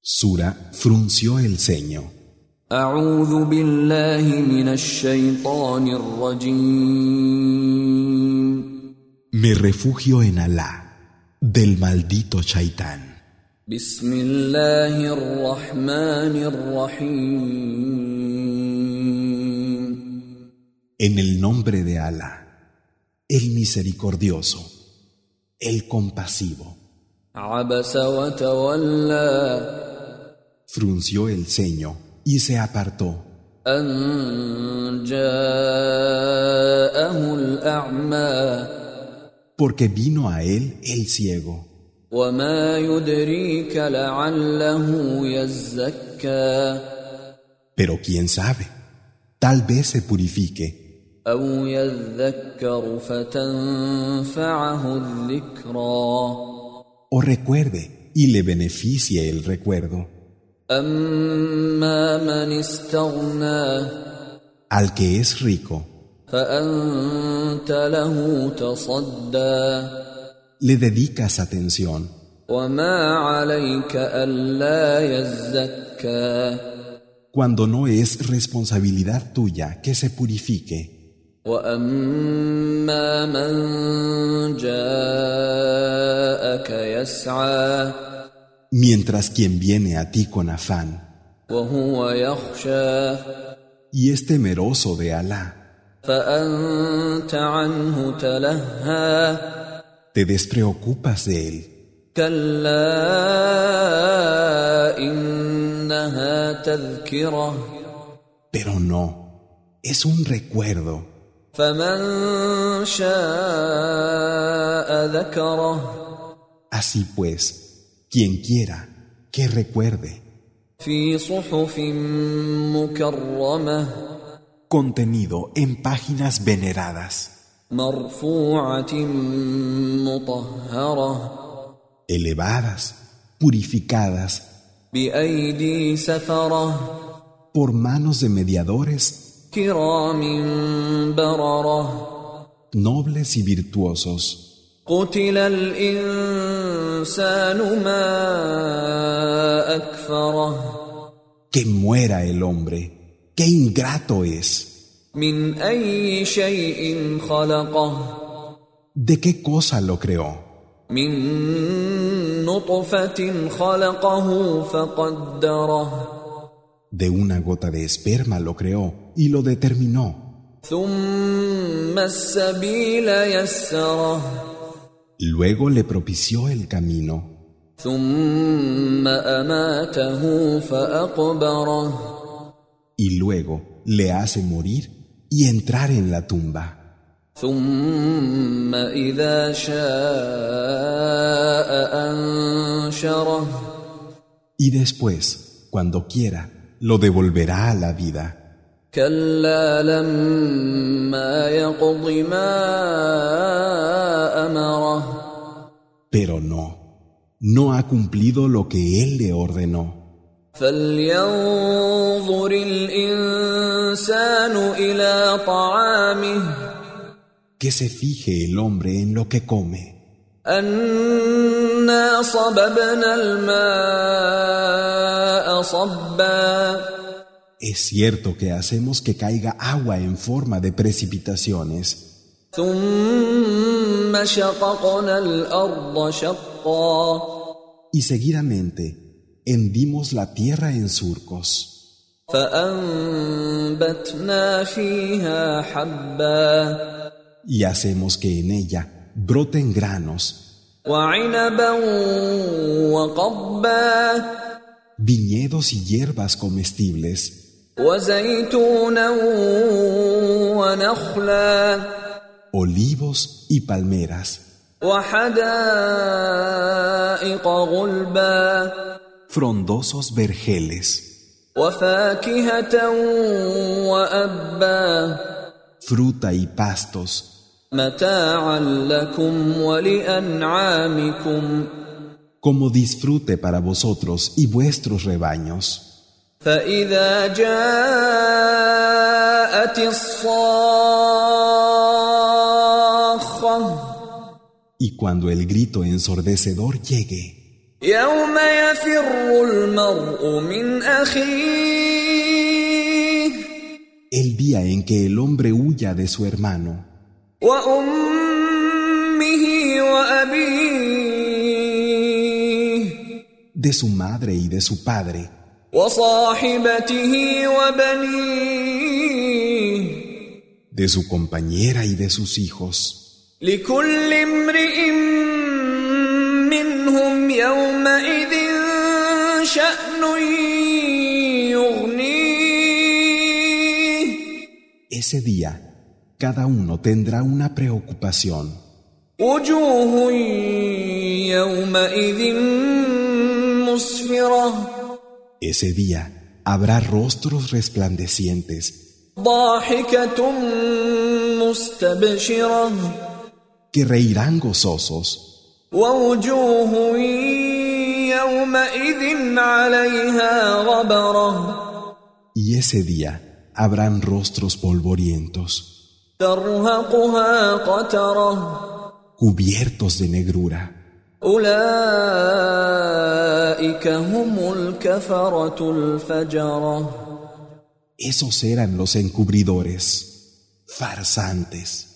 Sura frunció el ceño. أعوذ بالله من الشيطان الرجيم Me refugio en Alá, del maldito Shaitán. بسم الله الرحمن الرحيم En el nombre de Alá, el misericordioso, el compasivo. عبس وتولى Frunció el ceño y se apartó. أن جاءه الأعمى porque vino a él el ciego. وما يدريك لعله يزكى Pero quién sabe, tal vez se purifique أو يذكر فتنفعه الذكرى o recuerde y le beneficie el recuerdo. أما من استغنى Al que es rico, فأنت له تصدى le dedicas atención, وما عليك ألا يزكى cuando no es responsabilidad tuya que se purifique. وأما من جاءك يسعى Mientras quien viene a ti con afán وهو يخشى y es temeroso de Alá, فأنت عنه تلهى te despreocupas de él. كلا إنها تذكرة Pero no, es un recuerdo. فمن شاء ذكره Así pues, quien quiera que recuerde. في صحف مكرمة contenido en páginas veneradas, مرفوعة مطهرة elevadas, purificadas, بأيدي سفرة por manos de mediadores كرام بررة nobles y virtuosos. قتل الإنسان ما أكفره Que muera el hombre, qué ingrato es. من أي شيء خلقه ¿De qué cosa lo creó? من نطفة خلقه فقدره De una gota de esperma lo creó y lo determinó. ثم السبيل يسره Luego le propició el camino, ثم أماته فأقبره y luego le hace morir y entrar en la tumba. ثم إذا شاء أنشره Y después, cuando quiera, lo devolverá a la vida. كلا لما يقض ما أمره Pero no, no ha cumplido lo que él le ordenó. فلينظر الإنسان إلى طعامه Que se fije el hombre en lo que come, أنا صببنا الماء صبا es cierto que hacemos que caiga agua en forma de precipitaciones, ثم شققنا الأرض شقا y seguidamente hendimos la tierra en surcos, فأنبتنا فيها حبا y hacemos que en ella broten granos, وعنبا وقبا viñedos y hierbas comestibles, وزيتونا ونخلا olivos y palmeras, وحدائق غلبا frondosos vergeles, وفاكهة وأبا fruta y pastos, متاعا لكم ولأنعامكم como disfrute para vosotros y vuestros rebaños. فإذا جاءت الصاخة Y cuando el grito ensordecedor llegue, يوم يفر المرء من أخيه el día en que el hombre huya de su hermano, وأمه وأبيه de su madre y de su padre, وصاحبته وبنيه de su compañera y de sus hijos. لكل امرئ منهم يومئذ شأن يغنيه Ese día, cada uno tendrá una preocupación. وجوه يومئذ مسفرة Ese día, habrá rostros resplandecientes ضاحكة مستبشرة que reirán gozosos ووجوه يومئذ عليها غبرة y ese día, habrán rostros polvorientos, ترهقها قترة cubiertos de negrura. أولئك هم الكفرة الفجرة Esos eran los encubridores, farsantes.